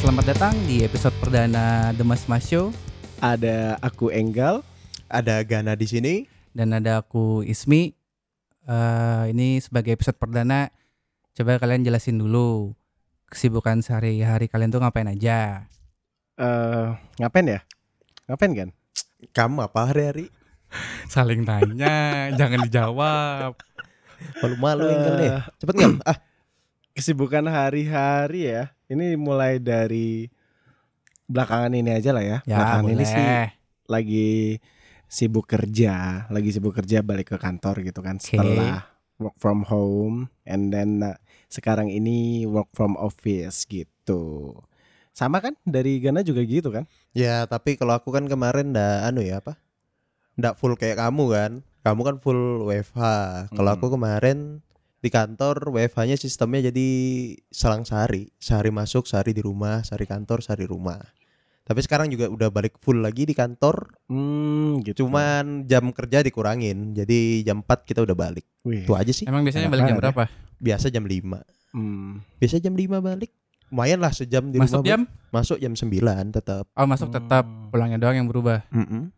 Selamat datang di episode perdana The Mas Mas Show Ada aku Enggal. Ada Gana di sini. dan ada aku Ismi. Eh, ini sebagai episode perdana, coba kalian jelasin dulu kesibukan sehari-hari kalian tuh ngapain aja. eh ngapain ya? Ngapain kan? Kamu apa hari-hari? Saling tanya, jangan dijawab. Malu-malu Enggal Eh, nih. Cepet Enggal. Ah, Kesibukan hari-hari ya. Ini mulai dari belakangan ini aja lah ya. Ya, belakangan boleh. ini sih lagi sibuk kerja, lagi sibuk kerja balik ke kantor gitu kan Oke. setelah work from home and then uh, sekarang ini work from office gitu. Sama kan dari Gana juga gitu kan? ya tapi kalau aku kan kemarin ndak anu ya apa? Ndak full kayak kamu kan. Kamu kan full WFH. Kalau Hmm. aku kemarin di kantor WFH-nya sistemnya jadi selang sehari. Sehari masuk, sehari di rumah, sehari kantor, sehari rumah. Tapi sekarang juga udah balik full lagi di kantor, Hmm, gitu. cuman jam kerja dikurangin. Jadi jam 4 kita udah balik. Wih. Itu aja sih. Emang biasanya Enak balik jam banget ya. berapa? Biasa jam 5. Hmm. Biasa jam 5 balik. Lumayan lah sejam di Masuk rumah. Bu. jam? Masuk jam 9 tetap. Oh, masuk tetap. Pulangnya doang yang berubah. Hmm.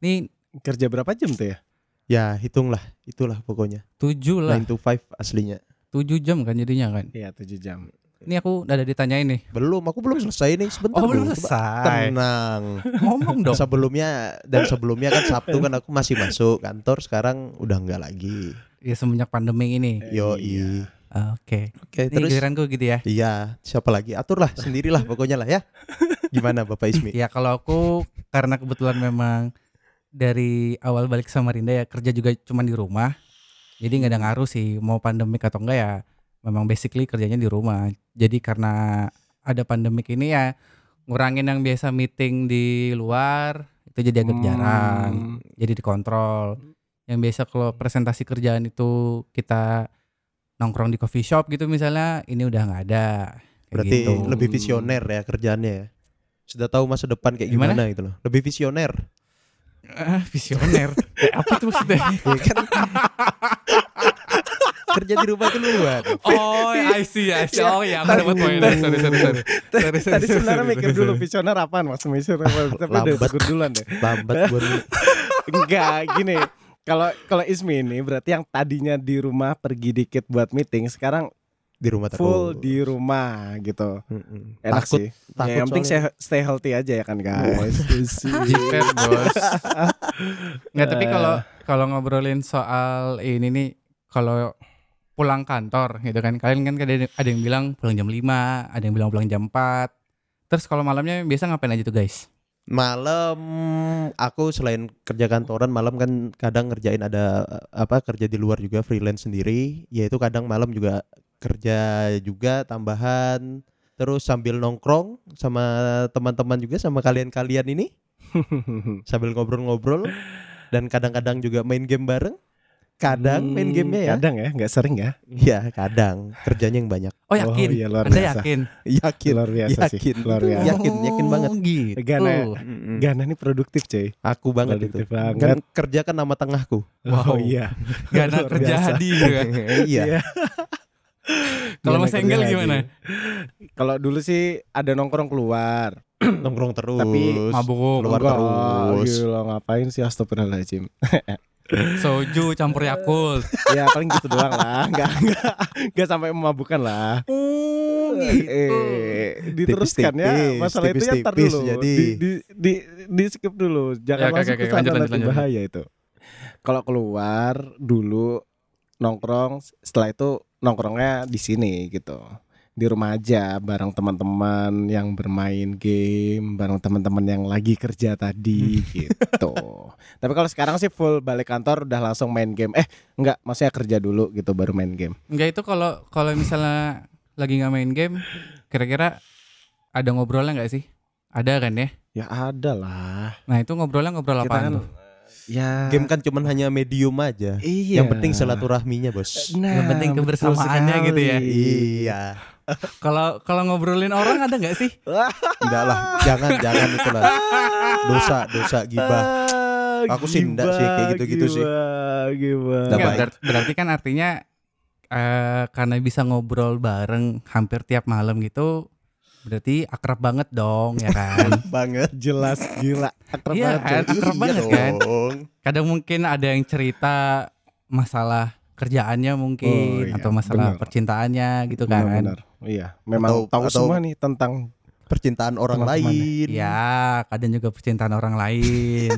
Nih Kerja berapa jam tuh ya? Ya, hitunglah, itulah pokoknya. tujuh lah, 9 to 5 aslinya. tujuh jam kan jadinya kan. Iya, 7 jam. Ini aku udah ada ditanyain nih. Belum, aku belum selesai nih sebentar. Oh, belum dulu. selesai. Tenang. Ngomong dong. Sebelumnya dan sebelumnya kan Sabtu kan aku masih masuk kantor, sekarang udah enggak lagi. Ya semenjak pandemi ini. Yo, Iya. Oke. Oke, Ini terus giliran gue gitu ya. Iya, siapa lagi? Aturlah sendirilah pokoknya lah ya. Gimana Iya, Bapak Ismi? Ya kalau aku karena kebetulan memang dari awal balik ke Samarinda ya kerja juga cuma di rumah. Jadi nggak ada ngaruh sih mau pandemik atau enggak ya memang basically kerjanya di rumah. Jadi karena ada pandemik ini ya ngurangin yang biasa meeting di luar itu jadi agak Hmm. Ya, jarang. Jadi dikontrol. Yang biasa kalau presentasi kerjaan itu kita nongkrong di coffee shop gitu misalnya ini udah nggak ada. Kayak Berarti gitu. lebih visioner ya kerjaannya ya. Sudah tahu masa depan kayak Gimana? gimana, gitu loh. Lebih visioner. Ah, visioner. Kayak apa tuh maksudnya? ya kan? Kerja di rumah itu luar. Oh, I see, I see. Oh ya, aku dapat poinnya. Sorry, sorry, sorry. Sorry, sorry, Tadi sebenarnya sorry, mikir sorry, dulu sorry. visioner apaan Mas Misir tapi udah Lambat. gugur duluan deh. Lambat buat Enggak, gini. Kalau kalau Ismi ini berarti yang tadinya di rumah pergi dikit buat meeting, sekarang di rumah terus. full di rumah gitu. Mm-mm. Enak takut, sih. Takut ya, yang penting soalnya. stay, stay healthy aja ya kan guys. Jiper, bos. Nggak, tapi kalau kalau ngobrolin soal ini nih, kalau pulang kantor gitu kan, kalian kan ada ada yang bilang pulang jam 5, ada yang bilang pulang jam 4. Terus kalau malamnya biasa ngapain aja tuh guys? malam aku selain kerja kantoran malam kan kadang ngerjain ada eh, apa kerja di luar juga freelance sendiri yaitu kadang malam juga kerja juga tambahan terus sambil nongkrong sama teman-teman juga sama kalian-kalian ini sambil ngobrol-ngobrol dan kadang-kadang juga main game bareng kadang main gamenya ya Kadang ya, enggak sering ya. ya kadang kerjanya yang banyak Oh yakin? iya, luar Anda biasa. yakin? yakin Luar biasa sih. Yakin. Iya. Luar biasa. Yakin, yakin banget. Oh, Gitu. Gana ya? Gana ini produktif, cuy. aku banget itu Produktif banget. kan kerja kan nama tengahku Wow. Wow, iya. Gana Luar kerja biasa. hadi gitu kan. iya Kalau Gana Mas Enggal kerja gimana? hadi. Kalau dulu sih ada nongkrong keluar. nongkrong terus Tapi Mabuk, Keluar Enggak, terus. gila, ngapain sih astagfirullahaladzim soju, campur Yakult. Ya paling gitu doang lah Enggak, enggak, enggak sampai memabukan lah Oh, Eh, diteruskan ya Tipis-tipis, masalah itu ya ntar tipis-tipis, dulu jadi. di, di, di, di skip dulu jangan Ya, oke, langsung oke, ke oke, sana, lanjut, lanjut, nanti lanjut. bahaya itu kalau keluar dulu nongkrong setelah itu nongkrongnya di sini gitu di rumah aja bareng teman-teman yang bermain game bareng teman-teman yang lagi kerja tadi gitu tapi kalau sekarang sih full balik kantor udah langsung main game eh enggak maksudnya kerja dulu gitu baru main game Enggak itu kalau kalau misalnya lagi nggak main game, kira-kira ada ngobrolnya nggak sih? Ada kan ya? ya ada lah Nah itu ngobrolnya ngobrol kita kan apaan tuh? Iya. ya game kan cuman hanya medium aja Iya. yang penting silaturahminya bos Nah, Yang penting betul kebersamaannya sekali. gitu ya. iya Kalau kalau ngobrolin orang ada nggak sih? enggak lah jangan jangan itu lah dosa dosa gibah Ah, Aku sih enggak sih, kayak gitu-gitu sih. gibah, gibah. Enggak Nggak, baik. ber- berarti kan artinya eh, karena bisa ngobrol bareng hampir tiap malam gitu, Berarti akrab banget dong ya kan. banget Jelas gitu. gila. Akrab Iya, banget. kan? Akrab banget, kan? dong. Kadang mungkin ada yang cerita masalah kerjaannya mungkin Oh, iya, atau masalah benar. percintaannya gitu kan. Benar-benar. Iya, memang Atau- tahu atau- semua nih tentang percintaan orang Teman-teman ya. lain Ya, kadang juga percintaan orang lain.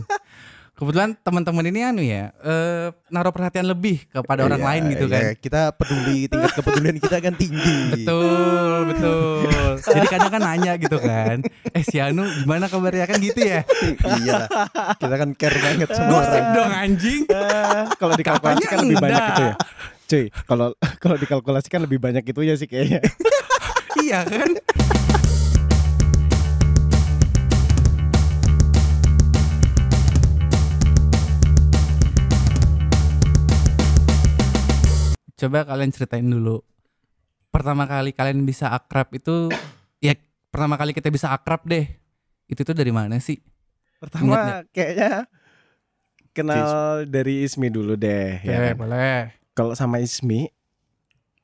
Kebetulan teman-teman ini anu ya, eh, naruh perhatian lebih kepada orang Iya, lain gitu iya. kan. kita peduli tingkat kepedulian kita kan tinggi Betul, betul. Jadi kadang kan nanya gitu kan. Eh si Anu gimana kabarnya kan gitu ya. iya kita kan care banget sama Gosip orang dong anjing. Eh, kalau dikalkulasikan iya, Katanya lebih banyak enggak. itu ya. Cuy, kalau kalau dikalkulasikan lebih banyak itu ya sih kayaknya. iya kan? Coba kalian ceritain dulu. Pertama kali kalian bisa akrab itu ya pertama kali kita bisa akrab deh. Itu tuh dari mana sih? Ingat nggak? Pertama kayaknya kenal dari Ismi dulu deh Eh, ya. kan? boleh. Kalau sama Ismi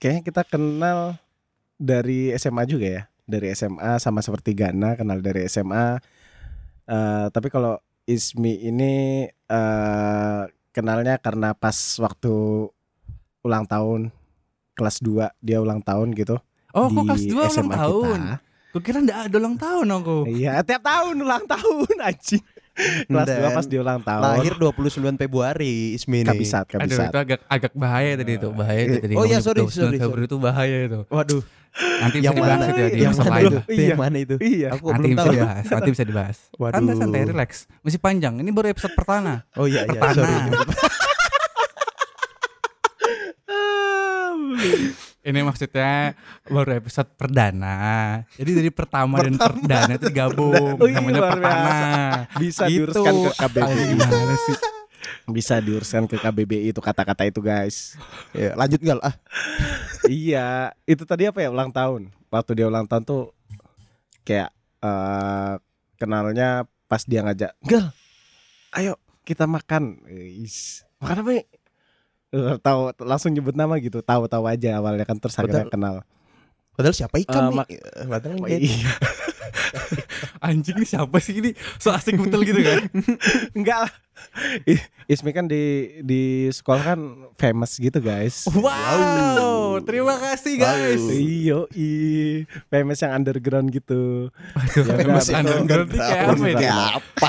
kayaknya kita kenal dari SMA juga ya. Dari SMA sama seperti Gana kenal dari SMA. Eh, tapi kalau Ismi ini eh kenalnya karena pas waktu ulang tahun kelas 2 dia ulang tahun gitu Oh, di kok kelas 2 ulang SMA tahun? kita. Gue kira enggak ada ulang tahun aku. Iya, tiap tahun ulang tahun anjing. Kelas 2 Dan pas dia ulang tahun. lahir 29 Februari Ismi ini kabisat, Aduh, kabisat. itu agak agak bahaya tadi itu, bahaya itu Eh, tadi. Oh, iya, ngomong sorry, 29 sorry, Februari itu bahaya itu. waduh Nanti bisa yang dibahas mana itu ya di yang episode mana lain. itu lah. yang mana itu Iya. aku Nanti belum bisa tahu dibahas, nanti bisa dibahas. Waduh. Santai santai relax. Masih panjang. Ini baru episode pertama. oh iya iya Pertama. sorry Ini maksudnya baru episode perdana. Jadi dari pertama, dan Pertama. perdana itu digabung Oh, iya, namanya luar pertama. Bisa Gitu. diuruskan ke Kalian KBBI. gimana sih? Bisa diuruskan ke KBBI itu kata-kata itu, guys. Ya, lanjut nggak lah ah iya, itu tadi apa ya ulang tahun. Waktu dia ulang tahun tuh kayak eh, kenalnya pas dia ngajak, "Gal, ayo kita makan." Is, makan apa? ya? Eh, Tahu langsung nyebut nama gitu, tahu-tahu aja awalnya kan terus akhirnya kenal. padahal siapa Eh, ikan mak- nih Eh, padahal Oh, kayak- iya. Anjing ini siapa sih ini? So asik betul gitu kan. Enggak lah. I- Ismi kan di di sekolah kan famous gitu guys. Wow, terima kasih guys. Wow. Iyo i famous yang underground gitu. Aduh, Ya, famous udah, underground Nggak ini kayak tahu apa ya? ini? kayak apa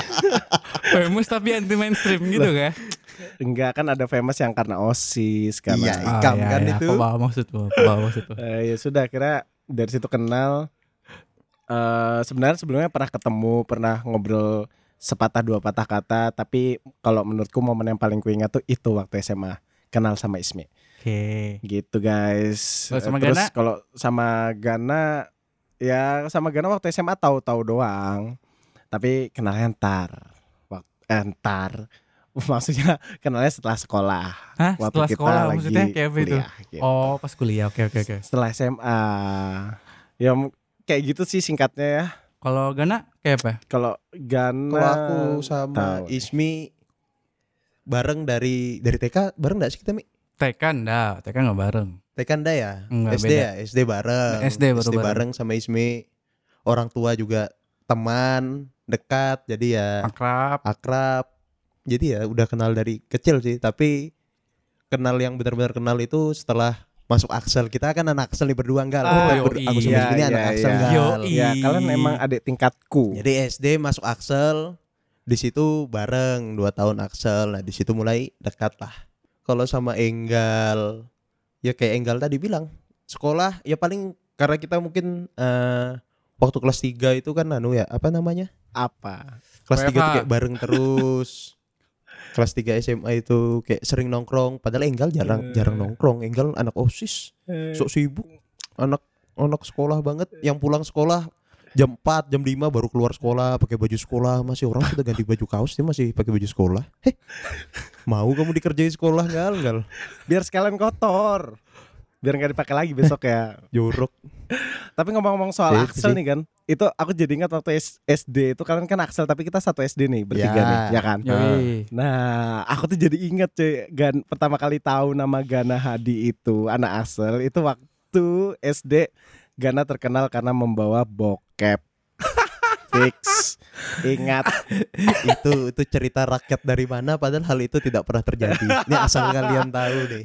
Famous tapi anti mainstream gitu kan. Enggak kan ada famous yang karena osis karena. Iya. Ikam Oh, kan itu. Aku paham maksud lu, aku paham maksud lu. Eh, ya sudah kira dari situ kenal. Eh sebenarnya sebelumnya pernah ketemu pernah ngobrol sepatah dua patah kata tapi kalau menurutku momen yang paling kuingat tuh itu waktu SMA kenal sama Ismi. Oke. gitu guys Kalau Oh, sama Eh, terus Gana? kalau sama Gana ya sama Gana waktu SMA tahu-tahu doang tapi kenalnya entar waktu entar maksudnya kenalnya setelah sekolah Hah, waktu setelah kita sekolah lagi maksudnya kayak apa itu? kuliah, gitu. Oh, pas kuliah. Oke, oke, oke. setelah SMA ya m- kayak gitu sih singkatnya ya Kalau Gana kayak apa? kalau Gana kalau aku sama Nah, tahu. Ismi bareng dari dari TK bareng nggak sih kita Mi? TK enggak, TK enggak bareng. TK anda ya? Enggak, SD beda. ya? SD bareng. Nah, SD baru bareng. bareng sama Ismi. Orang tua juga teman, dekat, jadi ya Akrab. akrab. Jadi ya udah kenal dari kecil sih, tapi kenal yang benar-benar kenal itu setelah masuk Axel. Kita kan anak Axel nih berdua enggak Ah, lah. Kita yoi. ber- aku Iya, sama Ismi ini iya, anak Axel iya. enggak. Yoi. ya kalian emang adik tingkatku Jadi SD masuk Axel, di situ bareng 2 tahun Axel. Nah, di situ mulai dekat lah. Kalau sama Enggal, ya kayak Enggal tadi bilang, sekolah ya paling karena kita mungkin eh waktu kelas 3 itu kan anu ya, apa namanya? apa Kelas WFH. 3 tuh kayak bareng terus. kelas 3 SMA itu kayak sering nongkrong, padahal Enggal jarang jarang nongkrong. Enggal anak OSIS Eh. sok sibuk anak anak sekolah banget yang pulang sekolah jam 4 jam 5 baru keluar sekolah pakai baju sekolah masih orang sudah ganti baju kaos dia masih pakai baju sekolah heh mau kamu dikerjain sekolah gal gal biar sekalian kotor biar nggak dipakai lagi besok ya jorok Tapi ngomong-ngomong soal Jadi- Axel nih kan, itu aku jadi ingat waktu S- SD itu kalian kan Axel tapi kita satu SD nih bertiga Ya. nih, ya kan? Yoi. Nah, aku tuh jadi ingat cuy, Gan, pertama kali tahu nama Gana Hadi itu anak Axel itu waktu SD Gana terkenal karena membawa bokep. Fix. Ingat. Ah, itu itu cerita rakyat dari mana padahal hal itu tidak pernah terjadi. Ini asal kalian tahu deh.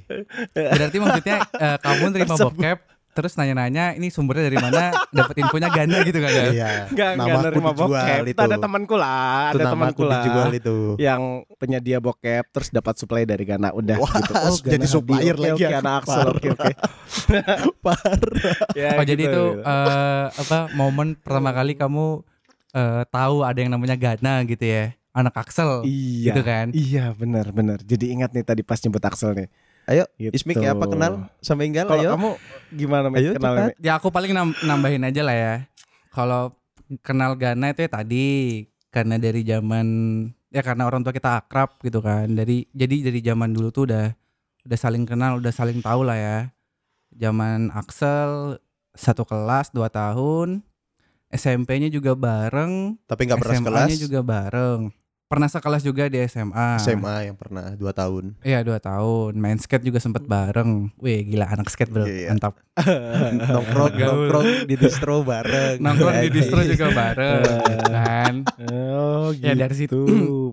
Berarti maksudnya eh, kamu terima bokep terus nanya-nanya ini sumbernya dari mana dapat infonya ganda gitu kan ya. Iya. Gak, Nama aku nerima dijual bokep. itu. Ada temanku lah, Itu ada nama temanku aku lah. dijual itu. yang penyedia bokep terus dapat supply dari Gana udah Wah, gitu. Gana jadi Hadi, supplier oke, lagi oke, aku, anak Axel parah. oke oke. Parah. Ya, Oh, jadi gitu, itu gitu. eh, apa momen pertama kali kamu eh, tahu ada yang namanya Gana gitu ya. Anak Axel iya. gitu kan. Iya benar benar. Jadi ingat nih tadi pas nyebut Axel nih. Ayo, Gitu. Ismik ya apa kenal sama Inggal Kalau ayo. kamu gimana Mit? Ayo, kenal cepat. Mit? Ya aku paling nam- nambahin aja lah ya. Kalau kenal Gana itu ya tadi karena dari zaman ya karena orang tua kita akrab gitu kan. Dari jadi dari zaman dulu tuh udah udah saling kenal, udah saling tahu lah ya. Zaman Axel satu kelas dua tahun, SMP-nya juga bareng, Tapi nggak pernah sekelas. SMA-nya juga bareng. Pernah sekelas juga di SMA. SMA yang pernah 2 tahun. Iya dua tahun. Main skate juga sempet bareng. Wih gila anak skate bro, Iya, iya. mantap. nongkrong Gaul. nongkrong di distro bareng. Nongkrong Iya, di distro iya. juga bareng, Eh. kan? Oh gitu. Ya, dari situ.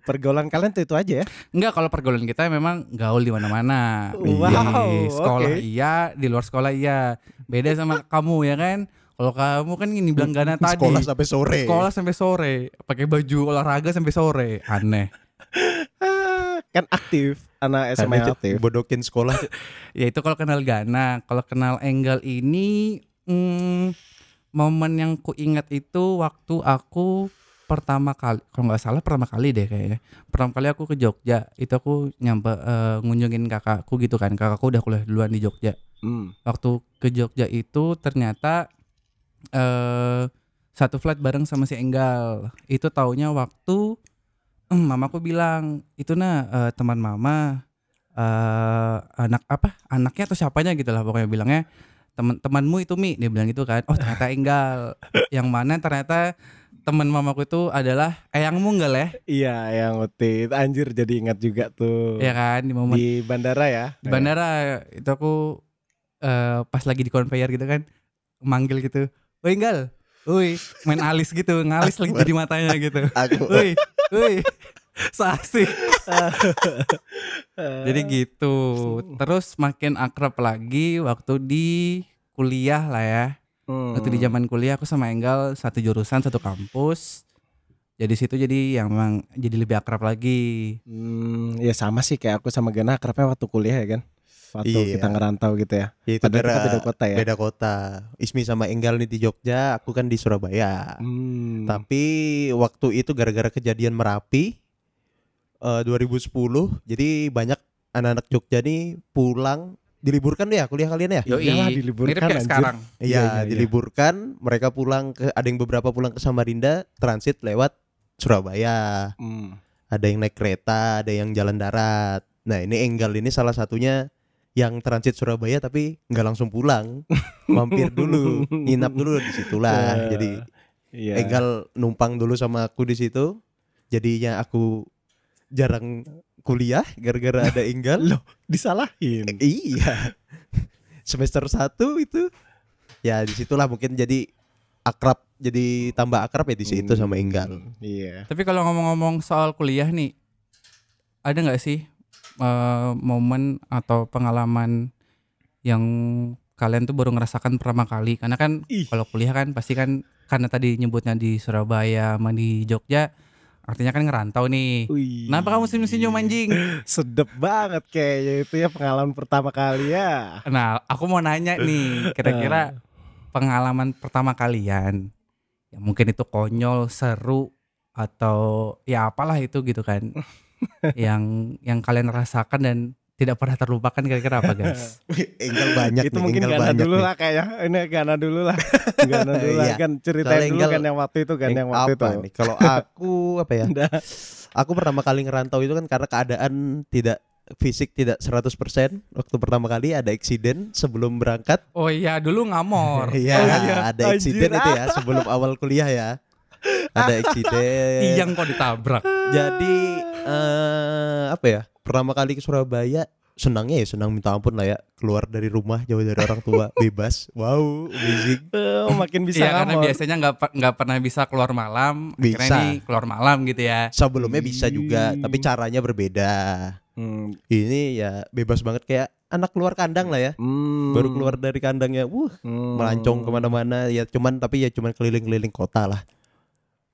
Pergaulan kalian tuh itu aja ya. Enggak kalau pergaulan kita memang gaul di mana-mana. Wow, Di sekolah oke. iya, di luar sekolah iya. Beda sama kamu ya kan? Kalau kamu kan ini bilang gana tadi. Sekolah sampai sore. Sekolah sampai sore, pakai baju olahraga sampai sore. Aneh. Ah, kan aktif anak SMA yang Karena aktif. bodokin sekolah Ya itu kalau kenal Gana, kalau kenal Enggal ini hmm, momen yang ku ingat itu waktu aku pertama kali kalau nggak salah pertama kali deh kayaknya pertama kali aku ke Jogja itu aku nyampe eh, ngunjungin kakakku gitu kan kakakku udah kuliah duluan di Jogja Hmm. waktu ke Jogja itu ternyata eh satu flight bareng sama si Enggal. Itu taunya waktu em, mamaku bilang, "Itu nah eh, teman mama eh anak apa? Anaknya atau siapanya gitu lah pokoknya bilangnya teman temanmu itu Mi dia bilang gitu kan oh ternyata enggal yang mana ternyata teman mamaku itu adalah eyangmu enggak ya Iya yang utit anjir jadi ingat juga tuh. ya kan di momen Di bandara ya. di bandara itu aku eh, pas lagi di conveyor gitu kan manggil gitu woi gal woi main alis gitu ngalis lagi jadi matanya gitu aku woi woi sasi Eh, jadi gitu terus makin akrab lagi waktu di kuliah lah ya hmm. waktu di zaman kuliah aku sama Enggal satu jurusan satu kampus jadi situ jadi yang memang jadi lebih akrab lagi Hmm, ya sama sih kayak aku sama Gana akrabnya waktu kuliah ya kan. Waktu Iya. kita ngerantau gitu ya. ya itu Padahal kita daerah- beda kota ya. beda kota. Ismi sama Enggal nih di Jogja, aku kan di Surabaya. Hmm. Tapi waktu itu gara-gara kejadian Merapi eh, 2010, jadi banyak anak-anak Jogja nih pulang diliburkan deh ya kuliah kalian ya. Yoi. Iyalah, diliburkan, mirip kayak anjir. sekarang Iya, iya, Iya, iya. diliburkan, mereka pulang ke ada yang beberapa pulang ke Samarinda transit lewat Surabaya. Hmm. Ada yang naik kereta, ada yang jalan darat. Nah, ini Enggal ini salah satunya yang transit Surabaya tapi nggak langsung pulang. Mampir dulu, nginap dulu di situlah. Eh, Jadi Iya. Enggal numpang dulu sama aku di situ. Jadinya aku jarang kuliah gara-gara ada Enggal. Loh, disalahin. Iya. Semester 1 itu. Ya disitulah mungkin jadi akrab, jadi tambah akrab ya di situ Hmm. sama Enggal. Iya. Tapi kalau ngomong-ngomong soal kuliah nih, ada nggak sih eh, momen atau pengalaman yang kalian tuh baru ngerasakan pertama kali? Karena kan Ih. kalau kuliah kan pasti kan karena tadi nyebutnya di Surabaya sama di Jogja, artinya kan ngerantau nih. Wih. Kenapa kamu senyum-senyum anjing? Sedep banget kayaknya itu ya pengalaman pertama kali ya. Nah, aku mau nanya nih, kira-kira pengalaman pertama kalian yang mungkin itu konyol, seru atau ya apalah itu gitu kan. yang yang kalian rasakan dan tidak pernah terlupakan kira-kira apa, guys? Enggal banyak itu nih, mungkin Enggal Gana banyak dulu nih. lah kayaknya. Ini Gana dulu lah. Gana dulu lah. Iya. Kan ceritain Soalnya dulu Enggal- kan yang waktu itu kan Eng- yang waktu apa itu. nih? Kalau aku apa ya? Udah. Aku pertama kali ngerantau itu kan karena keadaan tidak fisik tidak 100% waktu pertama kali ada eksiden sebelum berangkat. Oh iya, dulu ngamor. Iya, Oh iya, ada anjir. eksiden itu ya sebelum awal kuliah ya. Ada eksiden. Iya, Tiang kok ditabrak. Jadi eh apa ya? Pertama kali ke Surabaya senangnya ya senang minta ampun lah ya keluar dari rumah jauh dari orang tua bebas wow amazing Eh, makin bisa Iya karena ngamon. biasanya nggak per- nggak pernah bisa keluar malam, akhirnya Bisa. ini keluar malam gitu ya. sebelumnya bisa juga Hmm. tapi caranya berbeda Hmm, ini ya bebas banget kayak anak keluar kandang lah ya hmm, baru keluar dari kandangnya wuh hmm. melancong kemana-mana ya cuman tapi ya cuman keliling-keliling kota lah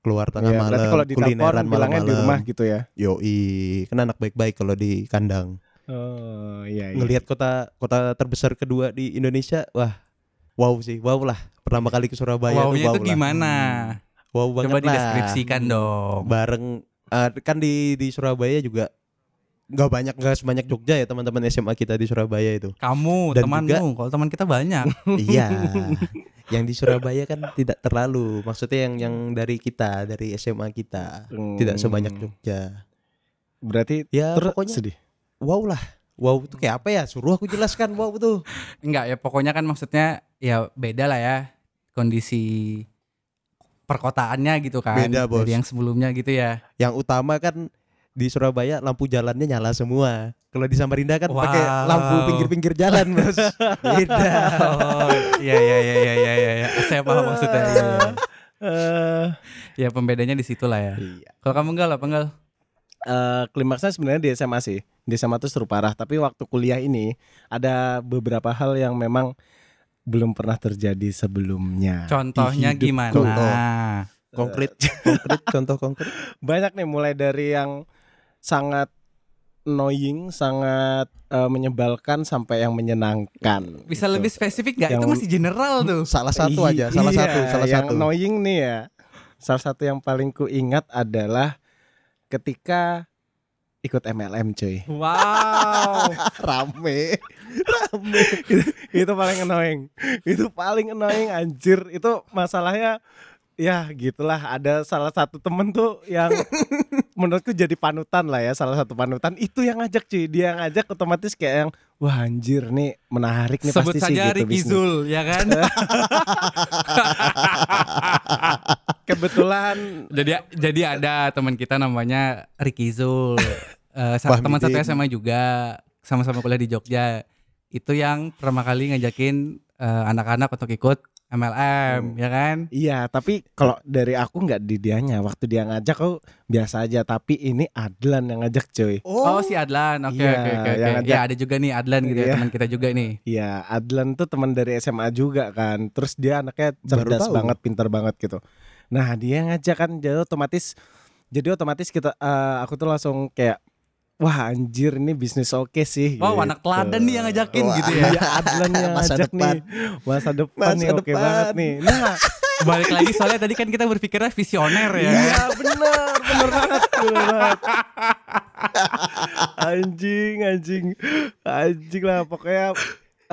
keluar tengah Iya, malam berarti kalau ditelepon kulineran bilangnya di rumah malam-malam gitu ya. yoi kena anak baik-baik kalau di kandang Oh, iya iya. ngelihat kota kota terbesar kedua di Indonesia wah wow sih wow lah pertama kali ke Surabaya tuh Wownya wow itu lah. gimana? wow banget Coba lah. dideskripsikan dong. bareng eh, kan di di Surabaya juga nggak banyak nggak sebanyak Jogja ya teman-teman SMA kita di Surabaya itu Kamu, Dan temanmu, kalau teman kita banyak. iya yang di Surabaya kan tidak terlalu maksudnya yang yang dari kita dari SMA kita Hmm. tidak sebanyak Jogja Berarti ya terus pokoknya sedih. wow lah wow itu kayak apa ya suruh aku jelaskan wow tuh Enggak ya, pokoknya kan maksudnya ya beda lah ya kondisi perkotaannya gitu kan. Beda, Bos. Dari yang sebelumnya gitu ya. yang utama kan di Surabaya lampu jalannya nyala semua. Kalau di Samarinda kan pakai Wow. lampu pinggir-pinggir jalan, Bos. Beda. Oh, iya iya iya iya iya iya, iya. Saya paham maksudnya. Iya, iya. Eh, Ya pembedanya di situ lah ya. Iya. Kalau kamu enggak lah, Nah, penggal. eh, klimaksnya sebenarnya di SMA sih. Di SMA tuh seru parah, tapi waktu kuliah ini ada beberapa hal yang memang belum pernah terjadi sebelumnya. Contohnya Di gimana? hidupku. Contoh. oh. Konkret, konkret, contoh konkret. Banyak nih mulai dari yang sangat annoying, sangat eh, menyebalkan sampai yang menyenangkan. Bisa gitu. lebih spesifik nggak? Itu Yang- masih general tuh. Salah satu aja, salah Iya, satu, salah yang satu. annoying nih ya. Salah satu yang paling ku ingat adalah ketika ikut MLM cuy. Wow. Rame. itu paling annoying. Itu paling annoying anjir. Itu masalahnya ya gitulah ada salah satu temen tuh yang menurutku jadi panutan lah ya salah satu panutan itu yang ngajak cuy dia yang ngajak otomatis kayak yang wah anjir nih menarik nih Sebut pasti sih saja gitu Ricky bisnis. Zul, ya kan? kebetulan jadi jadi ada teman kita namanya Ricky Zul. Eh, sa- Bang teman satu Diding. SMA juga, sama-sama kuliah di Jogja. Itu yang pertama kali ngajakin eh, anak-anak untuk ikut MLM, ya kan? Iya, tapi kalau dari aku nggak di dianya. Waktu dia ngajak aku biasa aja, tapi ini Adlan yang ngajak cuy. Oh, si Adlan. Oke, Iya, oke, oke. oke. yang Ya, ngajak. ada juga nih Adlan gitu Iya. ya, teman kita juga nih. Iya, Adlan tuh teman dari SMA juga kan. Terus dia anaknya Baru cerdas tahu. banget, pintar banget gitu. Nah, dia ngajak kan jadi otomatis jadi otomatis kita eh, aku tuh langsung kayak wah anjir ini bisnis oke sih. Wow, gitu. anak teladan nih yang ngajakin Wah. gitu ya. Iya, Adlan yang Masa ngajak depan. nih. Masa depan Masa nih oke depan. banget nih. Nah, Balik lagi soalnya tadi kan kita berpikirnya visioner ya. Iya benar, benar banget, benar banget. Anjing, anjing, anjing lah pokoknya.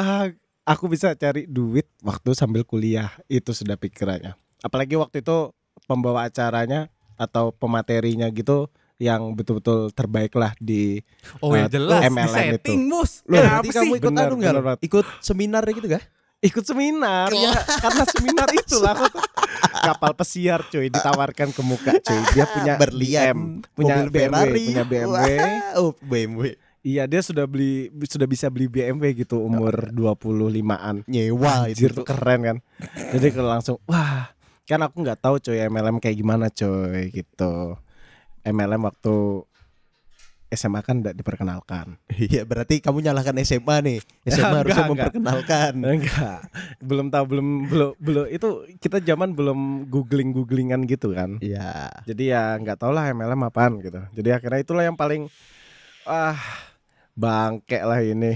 ah, aku bisa cari duit waktu sambil kuliah itu sudah pikirannya. Apalagi waktu itu pembawa acaranya atau pematerinya gitu yang betul-betul terbaik lah di Oh ya Eh, jelas, MLM itu. setting mus. Ya, Loh, berarti apa kamu sih? ikut Benar, anu nggak? benar banget. Ikut seminar gitu gak? ikut seminar ya Iya. karena seminar itulah aku tuh kapal pesiar cuy ditawarkan ke muka cuy dia punya Berlian, BM, punya mobil BMW Ferrari. punya BMW Wah, Oh, BMW. Iya dia sudah beli sudah bisa beli BMW gitu umur 25-an. Nyewa Anjir itu. keren kan. Jadi kalau langsung wah kan aku nggak tahu coy MLM kayak gimana coy gitu. MLM waktu SMA kan nggak diperkenalkan. Iya, berarti kamu nyalahkan SMA nih. Enggak, SMA harusnya enggak. memperkenalkan. Enggak. Belum tahu belum belum belum itu kita zaman belum googling-googlingan gitu kan. Iya. Jadi ya nggak tau lah MLM apaan gitu. Jadi akhirnya itulah yang paling ah bangke lah ini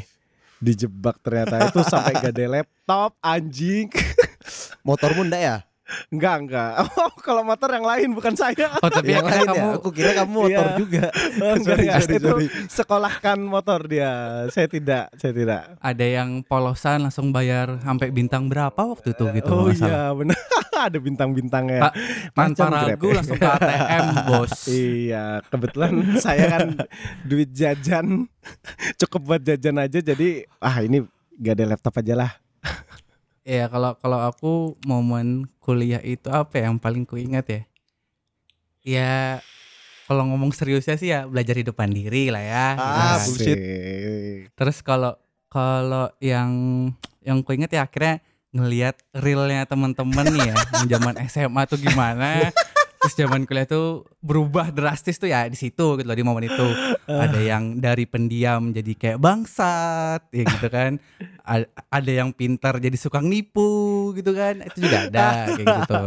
dijebak ternyata itu sampai gak ada laptop anjing Motormu enggak ya? nggak nggak oh kalau motor yang lain bukan saya Oh tapi Yang akhirnya lain ya? kamu aku kira kamu motor Iya. juga. Enggak, Sorry, enggak. sorry, itu sorry. sekolahkan motor dia saya tidak saya tidak ada yang polosan langsung bayar sampai bintang berapa waktu itu gitu oh nggak salah. iya benar ada bintang-bintangnya Pak, Tanpa Macam Grab ragu ya. langsung ke ATM bos. Iya, kebetulan saya kan duit jajan cukup buat jajan aja jadi ah ini gak ada laptop aja lah. Iya kalau kalau aku momen kuliah itu apa ya yang paling kuingat ya? Ya kalau ngomong seriusnya sih ya belajar hidup mandiri lah ya. Ah, gitu. bullshit. Asik. Terus kalau kalau yang yang ku inget ya akhirnya ngelihat realnya teman-teman nih ya yang zaman SMA tuh gimana terus zaman kuliah tuh berubah drastis tuh ya di situ gitu loh di momen itu ada yang dari pendiam jadi kayak bangsat ya gitu kan A- ada yang pintar jadi suka nipu gitu kan itu juga ada kayak gitu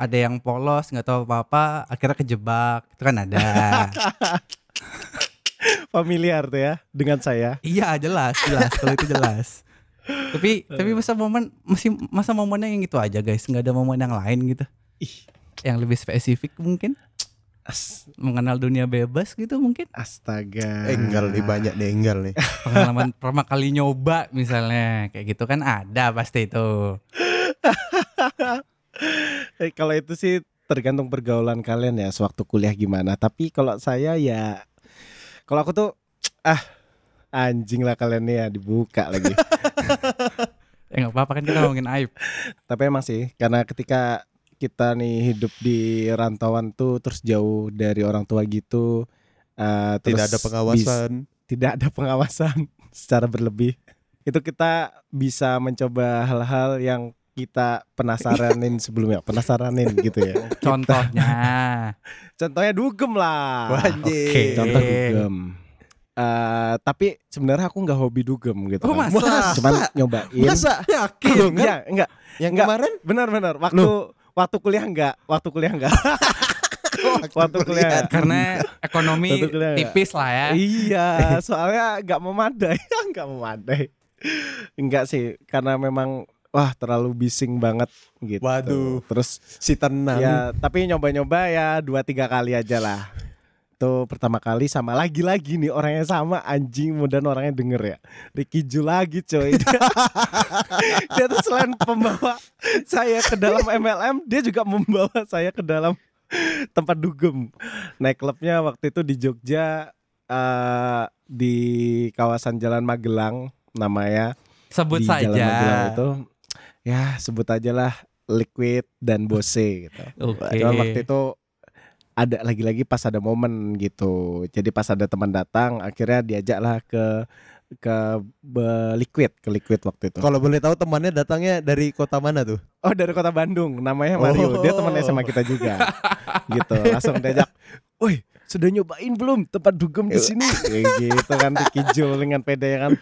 ada yang polos nggak tahu apa-apa akhirnya kejebak itu kan ada Familiar tuh ya dengan saya. Iya jelas jelas kalau itu jelas. tapi tapi masa momen masih masa momennya yang itu aja guys nggak ada momen yang lain gitu. Ih. Yang lebih spesifik mungkin As- mengenal dunia bebas gitu mungkin astaga. Enggal nih banyak nih enggal nih. pengalaman pertama kali nyoba misalnya kayak gitu kan ada pasti itu. Eh, kalau itu sih tergantung pergaulan kalian ya sewaktu kuliah gimana. Tapi kalau saya ya kalau aku tuh ah anjing lah kalian nih ya dibuka lagi. Ya nggak apa-apa kan kita ngomongin aib. Tapi emang sih karena ketika kita nih hidup di rantauan tuh terus jauh dari orang tua gitu eh, Tidak terus ada bis- pengawasan. tidak ada pengawasan secara berlebih. Itu kita bisa mencoba hal-hal yang kita penasaranin sebelumnya, penasaranin gitu ya. Contohnya. Contohnya dugem Ah, lah. Anjing. Oke. Contoh Oke. dugem. Eh, tapi sebenarnya aku nggak hobi dugem gitu. Oh, kan. masa? Cuman nyobain. Masa Yakin? Iya, enggak. yang Enggak. kemarin Benar-benar. Waktu waktu kuliah enggak, waktu kuliah enggak. waktu kuliah. Karena ekonomi Tentu kelihatan. tipis lah ya. iya, soalnya enggak memadai, enggak memadai. Enggak sih, karena memang wah terlalu bising banget gitu. Waduh. Terus si tenang. Ya, tapi nyoba-nyoba ya dua tiga kali aja lah. Tuh pertama kali sama lagi-lagi nih orangnya sama anjing mudah orangnya denger ya. Ricky Ju lagi coy. Dia, dia tuh selain pembawa saya ke dalam MLM, dia juga membawa saya ke dalam tempat dugem. Naik klubnya waktu itu di Jogja eh, di kawasan Jalan Magelang namanya Sebut di Jalan Magelang saja. itu ya sebut aja lah liquid dan bose gitu. Oke. Cuma waktu itu ada lagi-lagi pas ada momen gitu. Jadi pas ada teman datang akhirnya diajaklah ke ke be- liquid ke liquid waktu itu. Kalau boleh tahu temannya datangnya dari kota mana tuh? Oh dari kota Bandung namanya Mario. Oh. Dia teman SMA kita juga. gitu. Langsung diajak. Woi sudah nyobain belum tempat dugem di sini? Kayak gitu kan Ricky Jo dengan pede ya kan.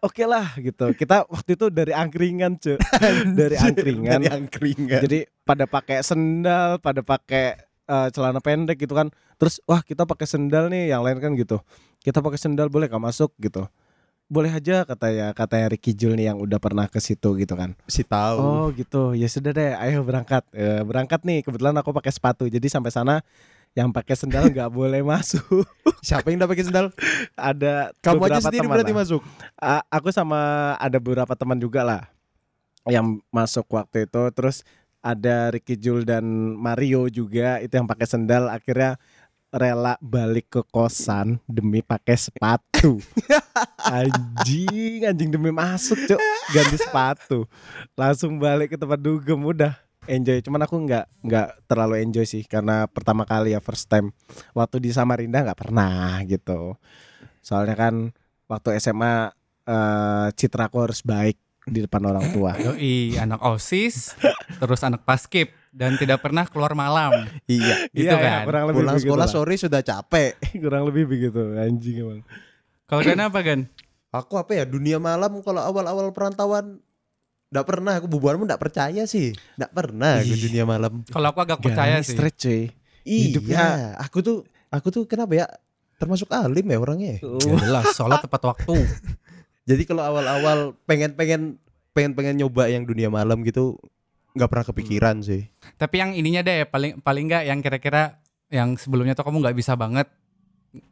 Oke lah gitu. Kita waktu itu dari angkringan cuy. Dari angkringan. Dari angkringan. Jadi pada pakai sendal, pada pakai eh, celana pendek gitu kan. Terus wah kita pakai sendal nih, yang lain kan gitu. Kita pakai sendal boleh gak masuk gitu. Boleh aja katanya katanya Ricky Jul nih yang udah pernah ke situ gitu kan. si tahu. Oh gitu. Ya sudah deh, ayo berangkat. Eh, berangkat nih, kebetulan aku pakai sepatu. Jadi sampai sana yang pakai sendal nggak boleh masuk. Siapa yang udah pakai sendal? Ada Kamu aja beberapa sendiri teman berarti lah. masuk. A- aku sama ada beberapa teman juga lah yang masuk waktu itu terus ada Ricky Jul dan Mario juga itu yang pakai sendal akhirnya rela balik ke kosan demi pakai sepatu anjing anjing demi masuk cok ganti sepatu langsung balik ke tempat dugem udah enjoy cuman aku nggak nggak terlalu enjoy sih karena pertama kali ya first time waktu di Samarinda nggak pernah gitu soalnya kan waktu SMA eh, citra aku harus baik di depan orang tua Yoi, anak OSIS, terus anak paskib dan tidak pernah keluar malam. Iya. Gitu Iya, ya, kan. kurang lebih Pulang begitu sekolah lah. sore sudah capek. kurang lebih begitu anjing emang Kalau Gan apa Gan? Aku apa ya dunia malam kalau awal-awal perantauan Nggak pernah aku bubarmu nggak percaya sih. Nggak pernah aku Ih. dunia malam. Kalau aku agak percaya Garis sih. straight, cuy Hidupnya- Iya, aku tuh aku tuh kenapa ya termasuk alim ya orangnya. ya? Iya. Ya jelas, sholat tepat waktu. Jadi kalau awal-awal pengen-pengen pengen-pengen nyoba yang dunia malam gitu nggak pernah kepikiran sih. Tapi yang ininya deh paling paling nggak yang kira-kira yang sebelumnya tuh kamu nggak bisa banget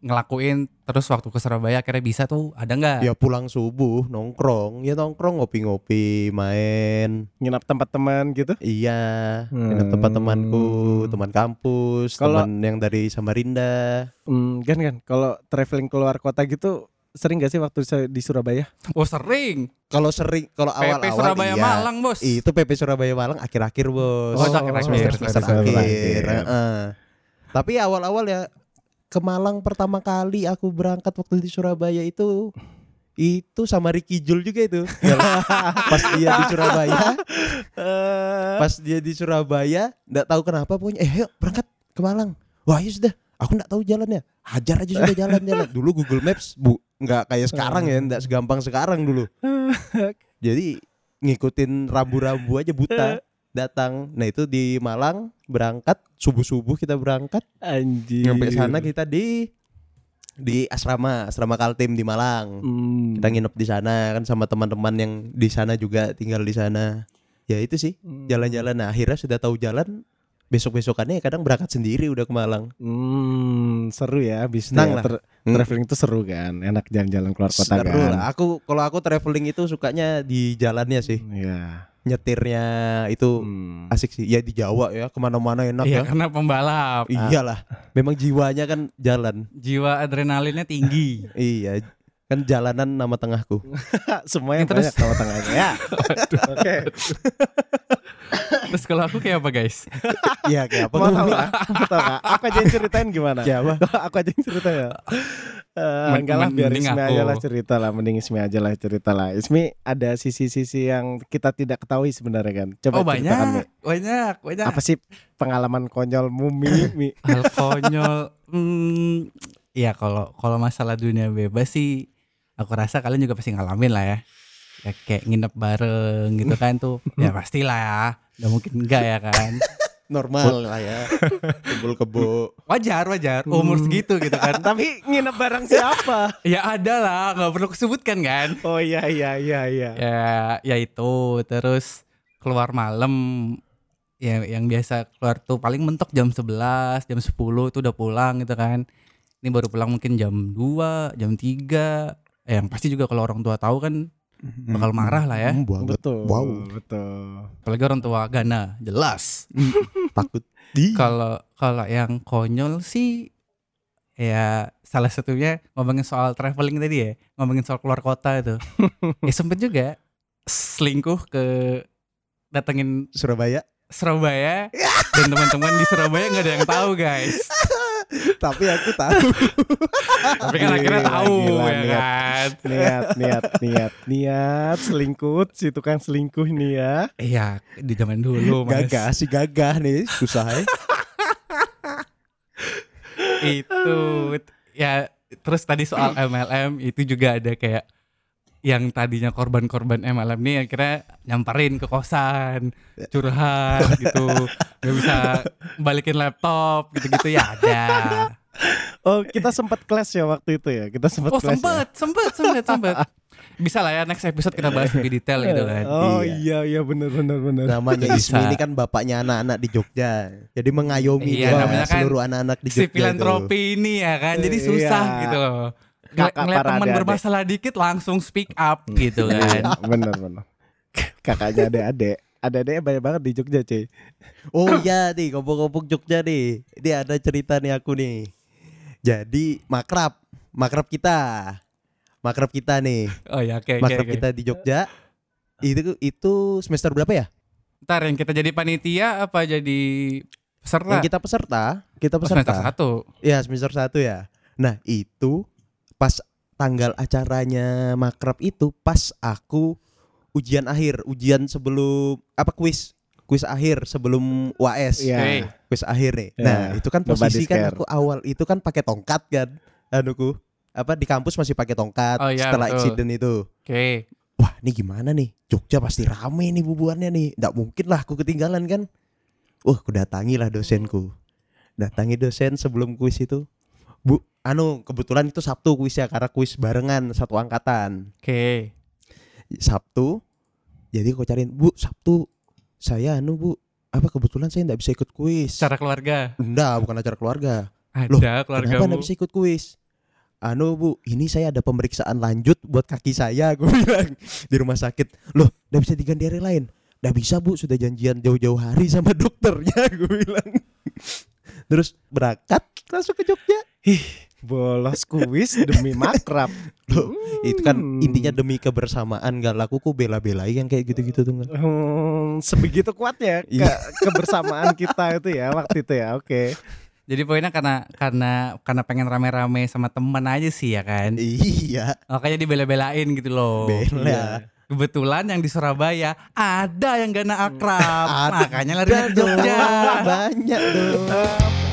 ngelakuin terus waktu ke Surabaya akhirnya bisa tuh ada nggak? Ya pulang subuh nongkrong, ya nongkrong ngopi-ngopi, main. nginap tempat teman gitu Iya, nginep tempat temanku, teman kampus, Kalau- teman yang dari Samarinda. Hmm, kan kan kalau traveling keluar kota gitu sering gak sih waktu saya di Surabaya Oh sering. Kalau sering kalau awal-awal PP Surabaya iya. Malang bos. Itu PP Surabaya Malang Oh, akhir-akhir, Bos. Oh, akhir-akhir, semester semester akhir. akhir. heeh. Tapi awal-awal ya ke Malang pertama kali aku berangkat waktu di Surabaya itu itu sama Ricky Jul juga itu pas dia di Surabaya pas dia di Surabaya nggak tahu kenapa pokoknya eh ayo berangkat ke Malang wah ya sudah aku nggak tahu jalannya hajar aja sudah jalan-jalan dulu Google Maps bu nggak kayak sekarang ya nggak segampang sekarang dulu jadi ngikutin rambu-rambu aja buta datang nah itu di Malang berangkat subuh-subuh kita berangkat Anjir. sampai sana gitu. kita di di asrama asrama Kaltim di Malang Hmm. kita nginep di sana kan sama teman-teman yang di sana juga tinggal di sana ya itu sih Hmm. jalan-jalan nah, akhirnya sudah tahu jalan besok besokannya kadang berangkat sendiri udah ke Malang Hmm, seru ya bisnis ya. Senang lah. Tra- Hmm. traveling itu seru kan, enak jalan-jalan keluar kota Seru kan. lah. aku kalau aku traveling itu sukanya di jalannya sih Iya. Hmm. nyetirnya itu Hmm. asik sih ya di Jawa ya kemana-mana enak Iya ya karena pembalap iyalah memang jiwanya kan jalan jiwa adrenalinnya tinggi. iya kan jalanan nama tengahku Semuanya Terus- banyak sama tangannya ya. Oke. Terus kalau aku kayak apa guys? iya kayak Mau tahu nggak? Mau tahu nggak? Aku aja yang ceritain gimana? Ya, apa? aku aja yang cerita ya. Eh, Men- enggak lah biar mending Ismi aku. aja lah cerita lah Mending Ismi aja lah cerita lah Ismi ada sisi-sisi yang kita tidak ketahui sebenarnya kan Coba Oh ceritakan, Mi. banyak, banyak, banyak. Apa sih pengalaman konyolmu Mi? Mi? Hal konyol. Hmm, ya kalau kalau masalah dunia bebas sih aku rasa kalian juga pasti ngalamin lah ya. Ya kayak nginep bareng gitu kan tuh. Ya pastilah ya. Udah mungkin enggak ya kan. normal lah ya kebul kebo Wajar, wajar. Umur segitu gitu kan. Tapi nginep bareng siapa? Ya ada lah, nggak perlu kusebutkan kan. oh iya iya iya iya Ya, ya itu terus keluar malam ya yang biasa keluar tuh paling mentok jam 11, jam 10 itu udah pulang gitu kan. Ini baru pulang mungkin jam 2, jam 3. Eh, yang pasti juga kalau orang tua tahu kan bakal marah lah ya. Hmm, banget. Betul Wow. Betul Apalagi orang tua Gana, jelas. takut di Kalau kalau yang konyol sih ya salah satunya ngomongin soal traveling tadi ya, ngomongin soal keluar kota itu. ya sempet juga selingkuh ke datengin Surabaya Surabaya dan teman-teman di Surabaya nggak ada yang tahu guys. tapi aku tahu Tapi kan akhirnya Gila, tahu gila, ya niat. kan. niat niat niat niat selingkuh si tukang selingkuh nih ya Iya di zaman dulu mas. gagah si gagah nih susah ya Itu ya terus tadi soal MLM itu juga ada kayak yang tadinya korban-korban MLM nih akhirnya nyamperin ke kosan curhat gitu nggak bisa balikin laptop gitu-gitu ya ada oh kita sempat clash ya waktu itu ya kita sempat oh clash ya? sempet sempet sempet sempet bisa lah ya next episode kita bahas lebih detail gitu kan Nah, oh Iya. iya iya bener bener bener namanya Bisa. Ismi ini kan bapaknya anak-anak di Jogja jadi mengayomi Iya, doang namanya kan seluruh anak-anak di si Jogja itu. filantropi ini ya kan jadi susah Iya. gitu loh Ngel- Kakak ngeliat para teman adik-adik. bermasalah dikit langsung speak up gitu kan Iya, bener bener kakaknya ada adek ada adek banyak banget di Jogja cuy oh iya nih ngomong-ngomong Jogja nih ini ada cerita nih aku nih jadi makrab makrab kita makrab kita nih oh ya oke oke makrab oke. kita di Jogja itu itu semester berapa ya ntar yang kita jadi panitia apa jadi peserta yang kita peserta kita Oh, semester peserta satu Ya semester satu ya. Nah itu pas tanggal acaranya makrab itu pas aku ujian akhir, ujian sebelum apa kuis, kuis akhir sebelum UAS, Iya. Oke. Nah, kuis akhir nih. Iya. Nah itu kan Nobody's posisi kan care. aku awal itu kan pakai tongkat kan, anuku apa di kampus masih pakai tongkat Oh, iya, setelah betul. insiden itu. oke Wah ini gimana nih Jogja pasti rame nih bubuannya nih Nggak mungkin lah aku ketinggalan kan Wah aku datangi lah dosenku Datangi dosen sebelum kuis itu Bu, anu kebetulan itu Sabtu kuisnya Karena kuis barengan satu angkatan oke Sabtu Jadi aku cariin Bu Sabtu saya anu bu Apa kebetulan saya nggak bisa ikut kuis secara keluarga Enggak bukan acara keluarga Loh, ada keluarga Kenapa nggak bisa ikut kuis? Anu bu, ini saya ada pemeriksaan lanjut buat kaki saya, gue bilang di rumah sakit. Loh, nggak bisa diganti hari lain? Nggak bisa bu, sudah janjian jauh-jauh hari sama dokternya, gue bilang. Terus berangkat langsung ke Jogja. bolos kuis demi makrab Loh, itu kan Hmm. intinya demi kebersamaan gak lakuku bela-belai yang kayak gitu-gitu tuh kan. Eh. Hmm, sebegitu kuatnya ke- Iya. kebersamaan kita itu ya waktu itu ya oke Jadi poinnya karena karena karena pengen rame-rame sama teman aja sih ya kan. Iya, Makanya dibela-belain gitu loh. bela. Kebetulan yang di Surabaya ada yang gak akrab. Ada. Makanya lari ke Jogja. banyak dong.